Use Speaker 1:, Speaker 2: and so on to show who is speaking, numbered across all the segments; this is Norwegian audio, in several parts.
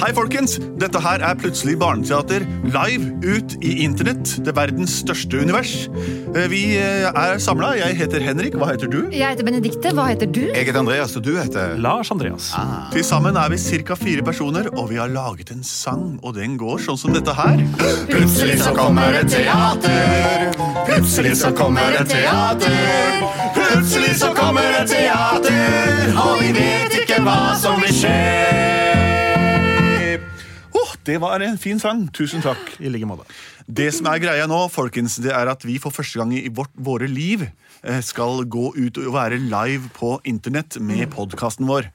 Speaker 1: Hei, folkens! Dette her er plutselig barneteater live ut i internett. Det verdens største univers. Eh, Vi eh, er samla. Jeg heter Henrik. Hva heter du?
Speaker 2: Jeg heter Benedikte. Hva heter du?
Speaker 3: Jeg heter Andreas, og du heter
Speaker 4: Lars Andreas.
Speaker 1: Til sammen er vi ca. fire personer, og vi har laget en sang. Og den går sånn som dette her.
Speaker 3: Plutselig så kommer et teater. Plutselig så kommer et teater. Plutselig så kommer et teater, og vi vet ikke hva som vil skje.
Speaker 1: Åh, det var en fin sang. Tusen takk.
Speaker 4: I like måte.
Speaker 1: Det som er greia nå, folkens, det er at vi for første gang i vårt, våre liv eh, skal gå ut og være live på internett med podkasten vår.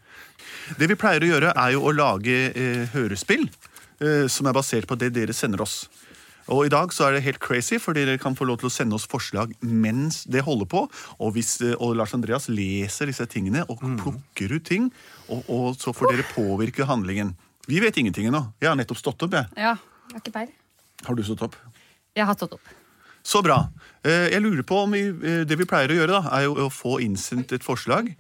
Speaker 1: Det vi pleier å gjøre, er jo å lage eh, hørespill eh, som er basert på det dere sender oss. Og i dag så er det helt crazy, for dere kan få lov til å sende oss forslag mens det holder på. Og, hvis, eh, og Lars Andreas leser disse tingene og plukker ut ting, og, og så får dere påvirke handlingen. Vi vet ingenting ennå. Jeg har nettopp stått opp. jeg.
Speaker 2: Ja, jeg har ikke peil.
Speaker 1: Har du stått opp?
Speaker 2: Jeg har stått opp.
Speaker 1: Så bra. Eh, Jeg lurer på om vi, eh, Det vi pleier å gjøre, da, er jo å få innsendt et forslag.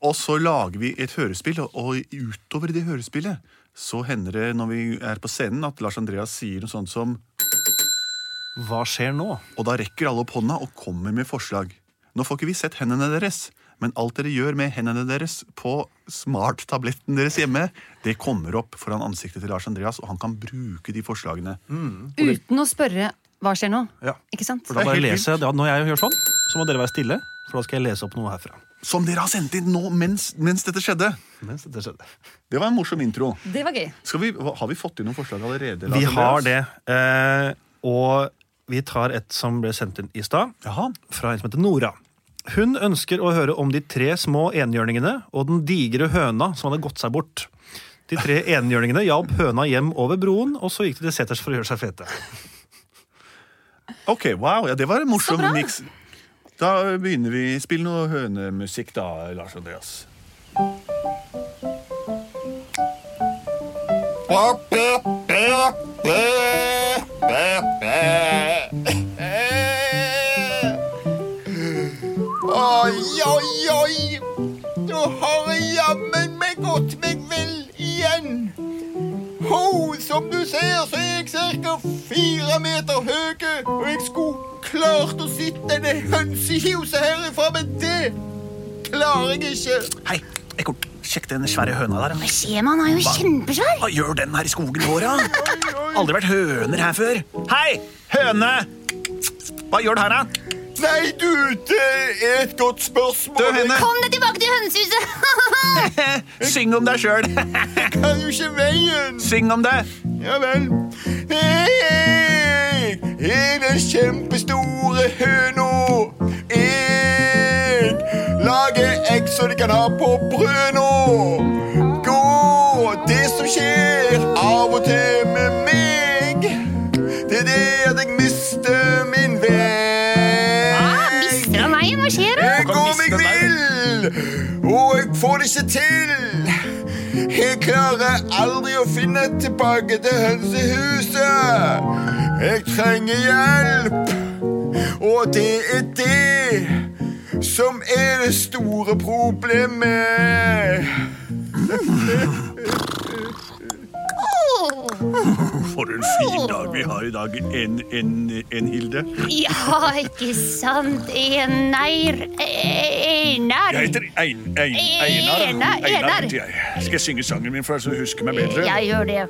Speaker 1: Og så lager vi et hørespill, og- og utover det hørespillet så hender det når vi er på scenen, at Lars Andreas sier noe sånt som
Speaker 4: Hva skjer nå?
Speaker 1: Og da rekker alle opp hånda og kommer med forslag. Nå får ikke vi sett hendene deres, men alt dere gjør med hendene deres på smarttabletten deres hjemme, det kommer opp foran ansiktet til Lars Andreas, og han kan bruke de forslagene.
Speaker 2: Uten å spørre hva skjer nå.
Speaker 4: Ja.
Speaker 2: Ikke sant?
Speaker 4: For da
Speaker 1: Det er
Speaker 4: bare
Speaker 1: helt
Speaker 4: leser jeg, da, Når jeg gjør sånn, så må dere være stille, for da skal jeg lese opp noe herfra.
Speaker 1: Som dere har sendt inn nå mens, mens dette skjedde.
Speaker 4: Mens dette skjedde.
Speaker 1: Det var en morsom intro.
Speaker 2: Det var gøy.
Speaker 1: Skal vi, hva- har vi fått inn noen forslag allerede?
Speaker 4: Vi
Speaker 1: Lars
Speaker 4: har
Speaker 1: Andreas?
Speaker 4: det. Eh, og vi tar et som ble sendt inn i stad,
Speaker 1: Jaha.
Speaker 4: fra en som heter Nora. Hun ønsker å høre om de tre små enhjørningene og den digre høna som hadde gått seg bort. De tre enhjørningene hjalp høna hjem over broen, og så gikk de til seters for å gjøre seg fete.
Speaker 1: Ok, wow, ja, det var en morsom
Speaker 2: Så bra.
Speaker 1: miks. Da begynner vi. Spill noe hønemusikk da, Lars Andreas.
Speaker 3: Oi, oi, oi. Nå har jeg jammen meg gått meg vel igjen. Ho, som du ser, så er jeg ca. fire meter høy, og jeg skulle klart å sitte en hønse i huset herifra, men det klarer jeg ikke.
Speaker 1: Hei, Ekkort. Sjekk den svære høna der.
Speaker 2: Skjemaen er jo kjempesvær.
Speaker 1: Hva gjør den her i skogen vår? Aldri vært høner her før. Hei, høne! Hva gjør du her, da?
Speaker 3: Nei, du, det er et godt spørsmål.
Speaker 1: Død henne.
Speaker 2: Kom deg tilbake til hønsehuset!
Speaker 1: Syng om deg sjøl.
Speaker 3: Jeg kan jo ikke veien.
Speaker 1: Syng om det.
Speaker 3: Ja vel. Jeg er den kjempestore høna. Jeg lager egg så de kan ha på brød nå. Gå det som skjer av og til med meg. Det er det at jeg mister min vei.
Speaker 2: Mister han veien? Hva skjer? da?
Speaker 3: Jeg
Speaker 1: kan
Speaker 3: går
Speaker 1: miste
Speaker 3: meg vill, og jeg får det ikke til. Jeg klarer aldri å finne tilbake til hønsehuset. Jeg trenger hjelp, og det er det som er det store problemet.
Speaker 1: For en fin dag vi har i dag. En, en, en Hilde.
Speaker 2: Ja, ikke sant. Eneir Einar.
Speaker 1: Ein,
Speaker 2: Einar, Einar.
Speaker 1: jeg. Skal jeg synge sangen min for å huske meg
Speaker 2: Jeg gjør det.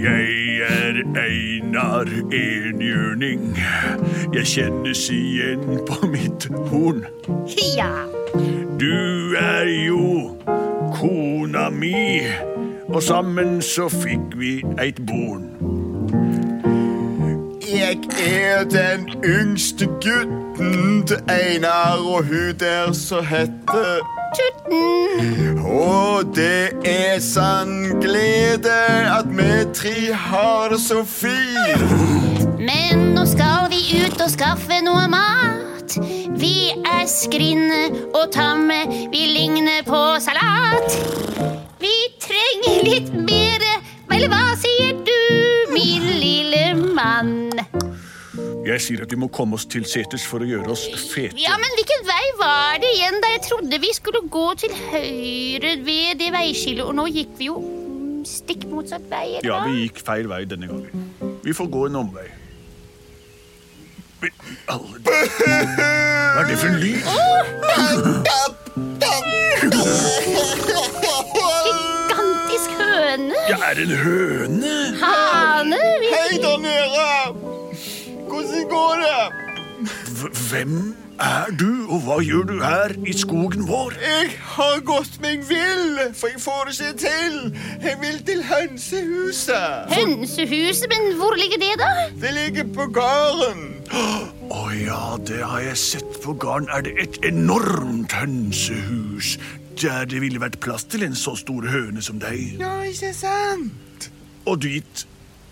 Speaker 1: Jeg er Einar Enhjørning. Jeg kjennes igjen på mitt horn.
Speaker 2: Ja.
Speaker 1: Du er jo kona mi, og sammen så fikk vi eit born.
Speaker 3: Jeg er den yngste gutten til Einar, og hun der som heter Tutten. Og det er sann glede at vi tre har det så fint.
Speaker 2: Men nå skal vi ut og skaffe noe mat. Vi er skrinne og tamme, vi ligner på salat. Vi trenger litt mere, vel hva sier du, min lille mann?
Speaker 1: Jeg sier at vi må komme oss til seters for å gjøre oss fete.
Speaker 2: Ja, men hvilken vei var det igjen da jeg trodde Vi skulle gå til høyre ved det veiskillet, og nå gikk vi jo mm, stikk motsatt vei. eller
Speaker 1: Ja,
Speaker 2: hva?
Speaker 1: vi gikk feil vei denne gangen. Vi får gå en omvei. Men i alle dager, Hva er det for en lyd?
Speaker 2: Gigantisk høne!
Speaker 1: Det er en høne!
Speaker 2: Hane! Vi,
Speaker 3: Hei der nede! Hvordan går det?
Speaker 1: V- Hvem er du, og hva gjør du her i skogen vår?
Speaker 3: Jeg har gått meg vill, for jeg får det ikke til. Jeg vil til hønsehuset.
Speaker 2: hønsehuset, men hvor ligger det, da?
Speaker 3: Det ligger på gården.
Speaker 1: Å ja, det har jeg sett på garden. Er det et enormt hønsehus? Der det ville vært plass til en så stor høne som deg.
Speaker 3: Ja, ikke sant?
Speaker 1: Og dit.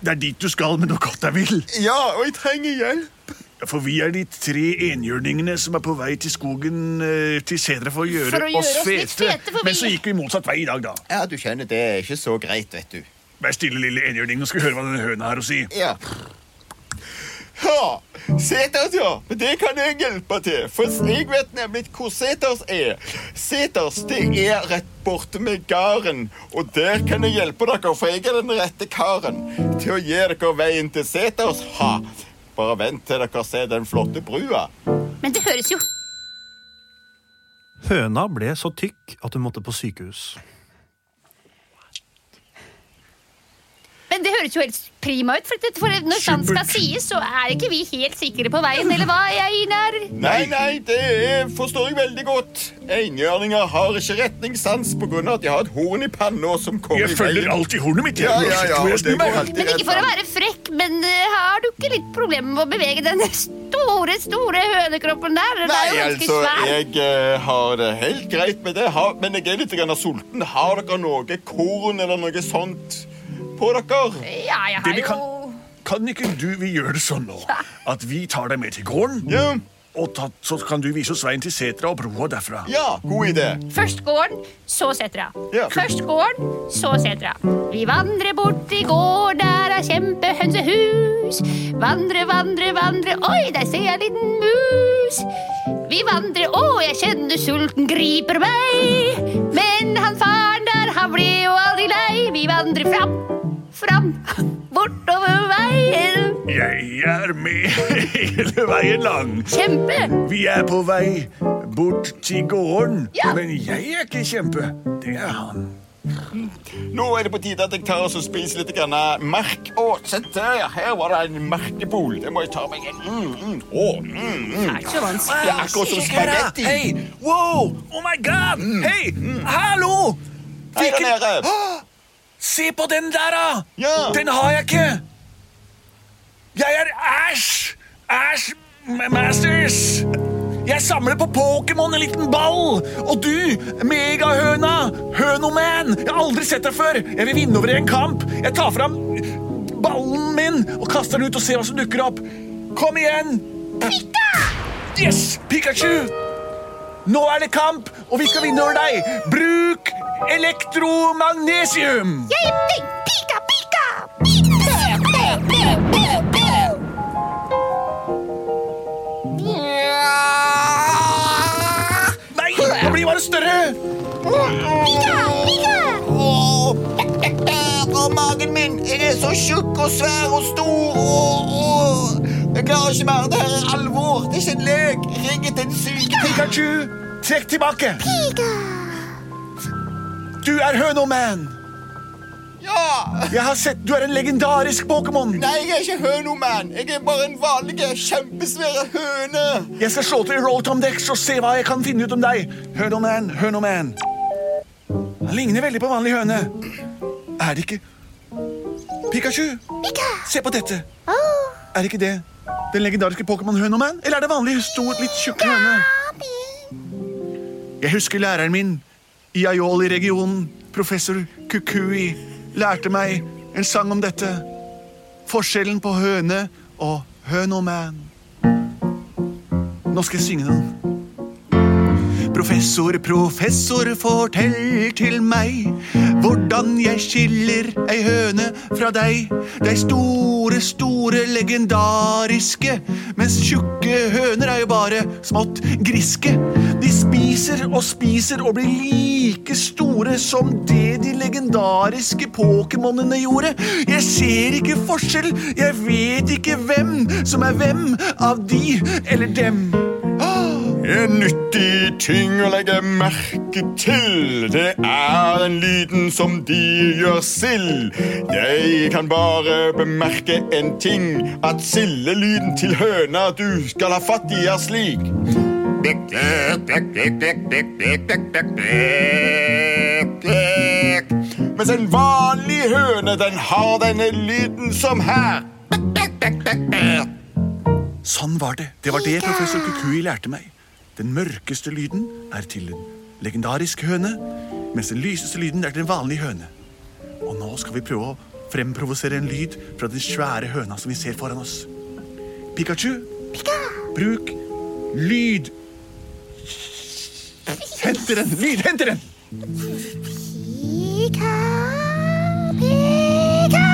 Speaker 1: Det er dit du skal med noe godt deg vil.
Speaker 3: Ja, og jeg trenger hjelp.
Speaker 1: For vi er de tre enhjørningene som er på vei til skogen eh, til setra for å gjøre,
Speaker 2: For å gjøre
Speaker 1: oss
Speaker 2: oss
Speaker 1: fete.
Speaker 2: litt fete, for
Speaker 1: Men
Speaker 2: vi-
Speaker 1: så gikk vi motsatt vei i dag, da.
Speaker 3: Ja, du skjønner, det er ikke så greit, vet du.
Speaker 1: Vær stille, lille enhjørning, nå skal vi høre hva denne høna har å si.
Speaker 3: Ja. Ja, Seters, ja. Det kan jeg hjelpe til. For jeg vet nemlig hvor Seters er. Seters det er rett borte med gården. Og der kan jeg hjelpe dere, for jeg er den rette karen til å gi dere veien til Seters. Ha. Bare vent til dere ser den flotte brua.
Speaker 2: Men det høres jo
Speaker 4: Høna ble så tykk at hun måtte på sykehus.
Speaker 2: Men det høres jo helt prima ut, for, dette- for når sant skal
Speaker 1: Supert.
Speaker 2: sies, så er ikke vi helt sikre på veien, eller hva, jeg nær?
Speaker 3: Nei, nei, det er, forstår jeg veldig godt. Enhjørninger har ikke retningssans pga. at de har et horn i panna som kommer
Speaker 1: Jeg følger alltid hornet mitt. jeg,
Speaker 3: Ja, ja,
Speaker 1: uansett hvor jeg
Speaker 3: ja, og det
Speaker 1: snur meg.
Speaker 3: går alltid
Speaker 2: Men
Speaker 3: rett
Speaker 2: ikke for å
Speaker 3: fram.
Speaker 2: være frekk, men eh, har du ikke litt problemer med å bevege den store, store hønekroppen der? Den er
Speaker 3: Nei,
Speaker 2: jo ganske
Speaker 3: altså,
Speaker 2: svær.
Speaker 3: jeg eh, har det helt greit med det, har, men jeg er litt grann sulten. Har dere noe korn eller noe sånt på dere?
Speaker 2: Ja, jeg
Speaker 1: Det
Speaker 2: har
Speaker 1: vi kan-
Speaker 2: jo
Speaker 1: Kan ikke du vi gjør det sånn nå at vi tar deg med til gården,
Speaker 3: Ja,
Speaker 1: og ta, så kan du vise oss veien til setra og broa derfra?
Speaker 3: ja god idé.
Speaker 2: Først gården, så setra.
Speaker 3: Ja.
Speaker 2: Først gården, så setra. Vi vandrer bort i gård, der er kjempehønsehus. Vandre, vandre, vandre, oi, der ser jeg en liten mus. Vi vandrer, å, jeg kjenner sulten griper meg. Men han faren der, han ble jo aldri lei. Vi vandrer fram, fram, bortover veien.
Speaker 1: Jeg er med hele veien lang.
Speaker 2: Kjempe!
Speaker 1: Vi er på vei bort til gården,
Speaker 2: Ja.
Speaker 1: men jeg er ikke kjempe. Det er han.
Speaker 3: Nå er det på tide at jeg tar og så spiser litt grann eh, mark. Å, se der, ja. Her var det en markebol. Det må jeg ta meg en. Mm, mm. Å, mm, mm.
Speaker 2: Det er ikke så vanskelig.
Speaker 3: Det er akkurat som spagetti. Mm.
Speaker 1: Hei! Wow! Oh my god! Hei! Hallo!
Speaker 3: Hei der
Speaker 1: Hvilken-
Speaker 3: nede.
Speaker 1: Se på den der, da!
Speaker 3: Ja.
Speaker 1: Den har jeg ikke! Jeg er Ash! Ash M- Masters! Jeg samler på Pokémon, en liten ball! Og du, megahøna! Hønoman! Jeg har aldri sett deg før! Jeg vil vinne over i en kamp! Jeg tar fram ballen min og kaster den ut og ser hva som dukker opp. Kom igjen! Pika! Yes! Pikachu! Nå er det kamp, og vi skal vinne over deg! Bruk elektromagnesium!
Speaker 2: Jeg blir pika, pika! Pika, pika, pika, pika!
Speaker 1: Nei, nå blir bare større!
Speaker 2: Pika, pika!
Speaker 3: Og magen min, jeg er så tjukk og svær og stor og, og Jeg klarer ikke mer. Det her er alvor. Det er ikke en lek. Ring etter en syk
Speaker 1: Pikachu, trekk tilbake! Du er Hønoman!
Speaker 3: Ja!
Speaker 1: Jeg har sett du er en legendarisk Pokémon!
Speaker 3: Nei, jeg er ikke hønoman. Jeg er bare en vanlig kjempesvære høne.
Speaker 1: Jeg skal slå til i Rolltom Dex og se hva jeg kan finne ut om deg. Hønoman, Hønoman. Han ligner veldig på vanlig høne. Er det ikke Pikachu,
Speaker 2: Pika!
Speaker 1: se på dette.
Speaker 2: Åh,
Speaker 1: Er det ikke det den legendariske Pokémon Hønoman? Eller er det vanlig stor, litt tjukk høne?
Speaker 2: Ami!
Speaker 1: Jeg husker læreren min i Aioli-regionen, professor Kukui, lærte meg en sang om dette. Forskjellen på høne og hønoman. Nå skal jeg synge den. Professor, professor, fortell til meg hvordan jeg skiller ei høne fra deg. De store, store, legendariske, mens tjukke høner er jo bare smått griske. De de spiser og spiser og blir like store som det de legendariske Pokémonene gjorde. Jeg ser ikke forskjell. Jeg vet ikke hvem som er hvem av de eller dem.
Speaker 3: En nyttig ting å legge merke til, det er den lyden som de gjør sild. Jeg kan bare bemerke en ting, at sildelyden til høna du skal ha fatt i, er slik. Mens en vanlig høne, den har denne lyden som her.
Speaker 1: Sånn var det. Det var det professor Kukui lærte meg. Den mørkeste lyden er til en legendarisk høne, mens den lyseste lyden er til en vanlig høne. Og nå skal vi prøve å fremprovosere en lyd fra den svære høna som vi ser foran oss. Pikachu, bruk lyd... Henter den! Lyd, henter den!
Speaker 2: Pika, pika,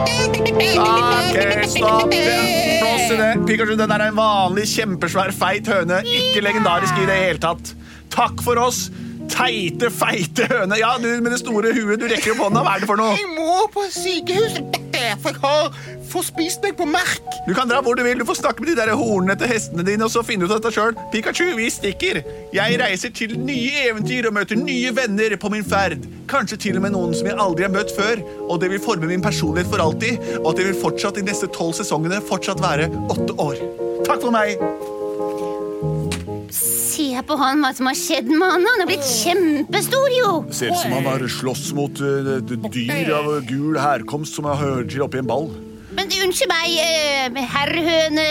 Speaker 2: Pikachu!
Speaker 1: Ok, stopp! Det er Blås i det. Pikachu, den der er en vanlig kjempesvær, feit høne. Ikke legendarisk i det hele tatt. Takk for oss. Teite, feite høne. Ja, du med det store huet. Du rekker opp hånda. Hva er det for noe?
Speaker 3: Jeg må på sykehuset, for jeg har forspist meg på merk.
Speaker 1: Du kan dra hvor du vil. Du får snakke med de der hornene til hestene dine og så finne ut av dette sjøl. Pikachu, vi stikker. Jeg reiser til nye eventyr og møter nye venner på min ferd. Kanskje til og med noen som jeg aldri har møtt før. Og det vil forme min personlighet for alltid. Og at det vil fortsatt de neste tolv sesongene fortsatt være åtte år. Takk for meg.
Speaker 2: Se på han, hva som har skjedd med han. Han har blitt kjempestor, jo.
Speaker 1: Ser ut som han har slåss mot eh, d- d- dyr av gul herkomst som jeg hører til oppi en ball.
Speaker 2: Men unnskyld meg, eh, herr høne,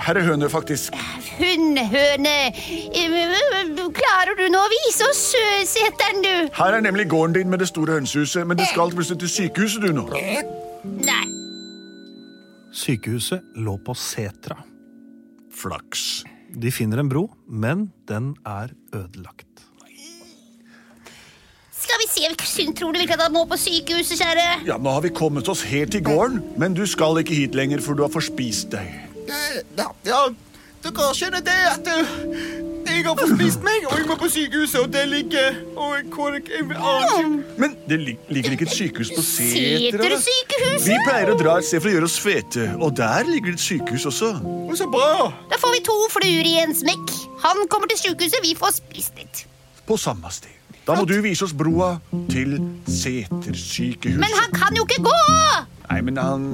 Speaker 1: Herre høne, faktisk.
Speaker 2: hun høne. Eh, Klarer du nå å vise oss eh, seteren, du?
Speaker 1: Her er nemlig gården din med det store hønsehuset, men du skal plutselig til sykehuset, du nå.
Speaker 2: Nei.
Speaker 4: Sykehuset lå på setra.
Speaker 1: Flaks.
Speaker 4: De finner en bro, men den er ødelagt.
Speaker 2: Skal vi se, Syn- tror du virkelig at han må på sykehuset, kjære?
Speaker 1: Ja, nå har vi kommet oss helt til gården, men du skal ikke hit lenger, for du har forspist deg.
Speaker 3: Eh, Ja, ja, dere skjønner det at eh, jeg har forspist meg, og jeg må på sykehuset, og det ligger Og hvor jeg aner ikke
Speaker 1: Men det lig- ligger ikke et sykehus på setra. da.
Speaker 2: Setersykehuset?
Speaker 1: Vi pleier å dra et sted for å gjøre oss fete, og der ligger det et sykehus også.
Speaker 3: Og så bra!
Speaker 2: Da får vi to fluer i en smekk. Han kommer til sykehuset, vi får spist litt.
Speaker 1: På samme sted. Da må du vise oss broa til Setersykehuset.
Speaker 2: Men han kan jo ikke gå!
Speaker 1: Nei, men han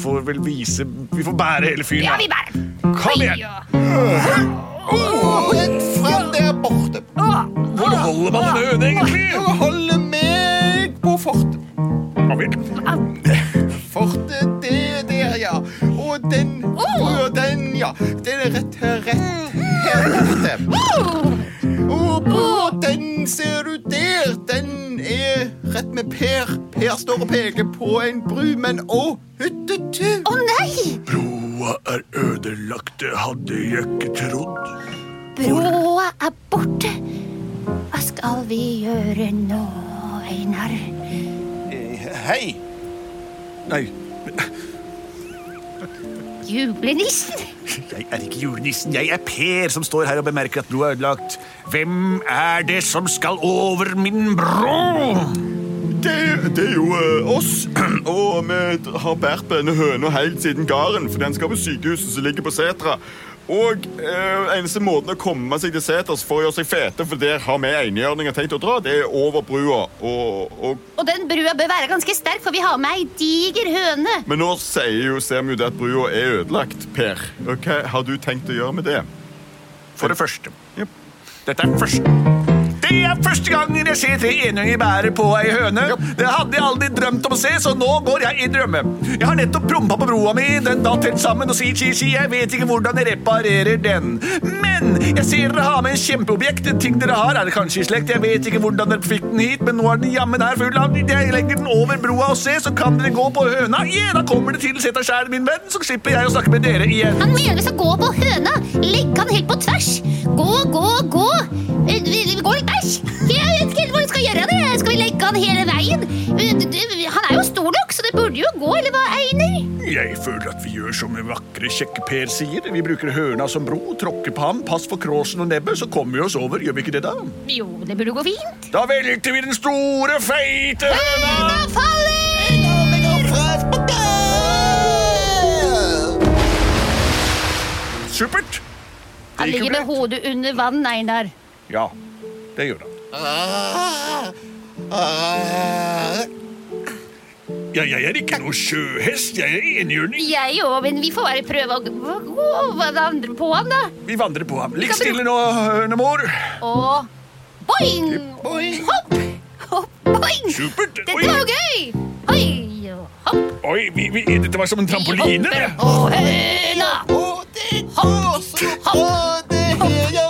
Speaker 1: får vel vise Vi får bære hele fyren. da.
Speaker 2: Ja, vi bærer den.
Speaker 1: Kom
Speaker 2: Oi,
Speaker 1: igjen!
Speaker 2: ja.
Speaker 3: Rett frem der borte.
Speaker 1: Hvor holder man en høne, egentlig?
Speaker 3: Og holde meg på fortet. Fortet, det er der, ja. Og den
Speaker 2: Oh.
Speaker 3: og den, ja. Den er rett her, rett her borte. Og på
Speaker 2: Oh.
Speaker 3: den ser du der. Den er rett med Per. Per står og peker på en bru, men å, hyttetu!
Speaker 2: Å nei!
Speaker 1: Broa er ødelagt, det hadde jeg ikke trodd.
Speaker 2: Bråa er borte. Hva skal vi gjøre nå, Einar?
Speaker 1: Hei. Nei,
Speaker 2: Julenissen?
Speaker 1: jeg er ikke julenissen. Jeg er Per som står her og bemerker at broa er ødelagt. Hvem er det som skal over min bro?
Speaker 3: Det, det er jo eh, oss, og vi har båret på denne høna helt siden gården, for den skal på sykehuset som ligger på setra. Og eh, eneste måten å komme seg til seters for å gjøre seg fete, for der har vi enhjørninger tenkt å dra, det er over brua. Og, og,
Speaker 2: Og den brua bør være ganske sterk, for vi har med ei diger høne.
Speaker 3: men nå sier jo, ser vi jo det at brua er ødelagt, Per. Og Hva har du tenkt å gjøre med det?
Speaker 1: For det første.
Speaker 3: Jep.
Speaker 1: Dette er første Det er første gangen jeg ser tre enhjørninger bære på ei høne. Det hadde jeg aldri drømt om å se, så nå går jeg i drømme. Jeg har nettopp prompa på broa mi, den datt helt sammen og sier chi-chi, jeg vet ikke hvordan jeg reparerer den. Men jeg ser dere har med en kjempeobjekt, en ting dere har, er det kanskje i slekt, jeg vet ikke hvordan dere fikk den hit, men nå er den jammen her full av Jeg legger den over broa og ser, så kan dere gå på høna. Ja, da kommer det til seter skjær, min venn, så slipper jeg å snakke med dere igjen.
Speaker 2: Han mener vi skal gå på høna. Legge han helt på tvers. Gå, gå, gå. Eh, vi- vi Går litt bæsj. Jeg vet ikke helt hvor vi skal gjøre det. Skal vi legge han hele veien? Eh, d- d- Han er jo stor nok, så det burde jo gå, eller hva, Einer?
Speaker 1: Jeg føler at vi gjør som vakre, kjekke Per sier. Vi bruker høna som bro, tråkker på ham, pass for kråsen og nebbet, så kommer vi oss over, gjør vi ikke det da?
Speaker 2: Jo, det burde gå fint.
Speaker 1: Da velter vi den store, feite høna!
Speaker 2: Hva faller?
Speaker 1: Supert!
Speaker 2: Han
Speaker 1: gikk jo
Speaker 2: ligger med hodet under vann, Einar.
Speaker 1: Ja, det gjør han. Ja, jeg er ikke noe sjøhest, jeg er enhjørning.
Speaker 2: Jeg òg, men vi får bare prøve å g- gå over det andre på han, da.
Speaker 1: Vi vandrer på ham. Ligg stille nå, hønemor.
Speaker 2: Og boing!
Speaker 1: Boing.
Speaker 2: Hopp! Hopp, boing!
Speaker 1: Supert.
Speaker 2: Dette
Speaker 1: Oi,
Speaker 2: var jo gøy! Oi, og hopp!
Speaker 1: oi vi, vi, dette var som en
Speaker 2: vi
Speaker 1: trampoline.
Speaker 2: hopper, Og høna!
Speaker 3: Og det går så bra, det her, ja.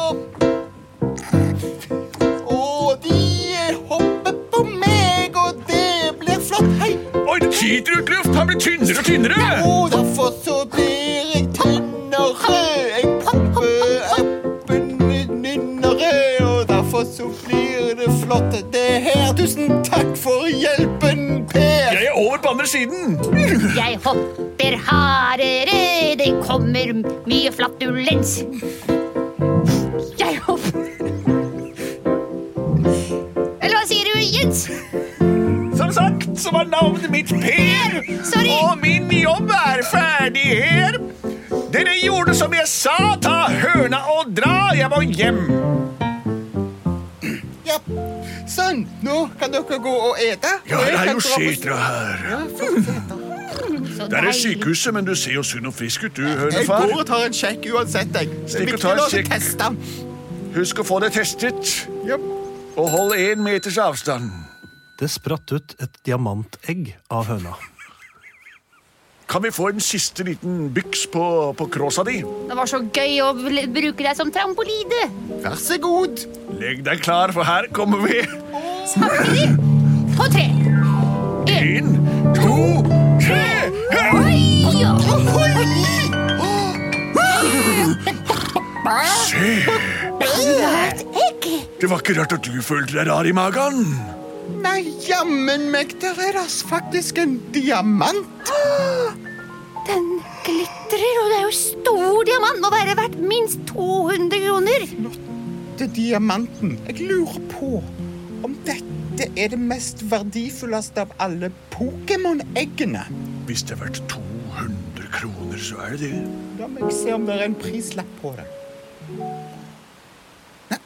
Speaker 3: Og de hopper på meg, og det blir flott, hei.
Speaker 1: Oi, det skyter ut luft. Han blir tynnere og tynnere.
Speaker 3: Og derfor så blir jeg tynnere. Jeg popper appen nynnere, og derfor så blir det flott, det her. Tusen takk for hjelpen, Per.
Speaker 1: Jeg er over på andre siden.
Speaker 2: Jeg hopper hardere, det kommer mye flatulens. Jeg hopper Eller hva sier du, Jens?
Speaker 1: Som sagt, så var navnet mitt Per.
Speaker 2: Sorry.
Speaker 1: Og min jobb er ferdig her. Dere gjorde som jeg sa. Ta høna og dra. Jeg må hjem.
Speaker 3: Ja, sånn. Nå kan dere gå og ete.
Speaker 1: Ja,
Speaker 3: og jeg
Speaker 1: det er
Speaker 3: kan
Speaker 1: jo
Speaker 3: dra på-
Speaker 1: skitra her.
Speaker 3: Ja, flott, flott, da.
Speaker 2: Så
Speaker 1: Der er
Speaker 2: deilig.
Speaker 1: sykehuset, men du ser jo sunn og frisk ut, du,
Speaker 3: Jeg går
Speaker 1: hønefar.
Speaker 3: og tar en sjekk uansett, jeg. Det er
Speaker 1: Stikk og
Speaker 3: viktig
Speaker 1: ta en
Speaker 3: å la seg
Speaker 1: sjekk.
Speaker 3: teste.
Speaker 1: Husk å få deg testet.
Speaker 3: Ja.
Speaker 1: Og hold én meters avstand.
Speaker 4: Det spratt ut et diamantegg av høna.
Speaker 1: Kan vi få en siste liten byks på, på kråsa di?
Speaker 2: Det var så gøy å bl- bruke deg som trampoline.
Speaker 3: Vær så god.
Speaker 1: Legg deg klar, for her kommer vi.
Speaker 2: Samtidig. På tre. En.
Speaker 1: Én, to, tre. hø!
Speaker 2: Oi, ja.
Speaker 1: Se!
Speaker 2: Et egg.
Speaker 1: Det var ikke rart at du følte deg rar i magen.
Speaker 3: Nei, jammen meg, der er det faktisk en diamant.
Speaker 2: Den glitrer, og det er jo stor diamant. Må være verdt minst 200 kroner.
Speaker 3: Til diamanten. Jeg lurer på om dette er det mest verdifulleste av alle Pokémon-eggene.
Speaker 1: Hvis det er verdt 200 kroner, så er det det.
Speaker 3: La meg se om det er en prislapp på det. Nei,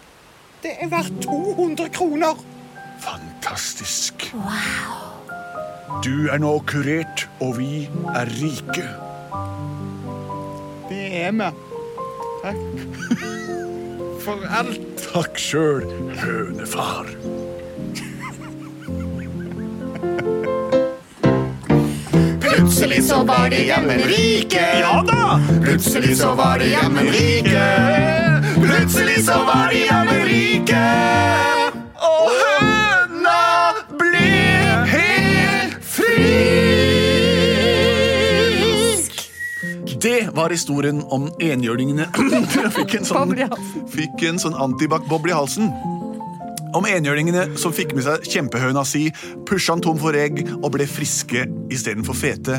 Speaker 3: Det er verdt 200 kroner.
Speaker 1: Fantastisk. Du er nå kurert, og vi er rike.
Speaker 3: Det er vi. Takk for alt.
Speaker 1: Takk sjøl, hønefar.
Speaker 5: Plutselig så var de jammen rike. Ja da! Plutselig så var de jammen rike. Plutselig så var de jammen rike. Og høna ble helt frisk.
Speaker 6: Det var historien om enhjørningene. Jeg fikk en sånn, fikk en sånn antibac-boble i halsen. Om enhjørningene som fikk med seg kjempehøna si, pusha han tom for egg og ble friske istedenfor fete.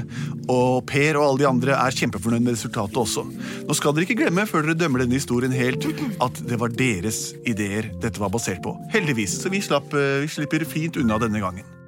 Speaker 6: Og Per og alle de andre er kjempefornøyd med resultatet også. Nå skal dere ikke glemme før dere dømmer denne historien helt, at det var deres ideer dette var basert på. Heldigvis, så vi, slapp, eh, vi slipper fint unna denne gangen.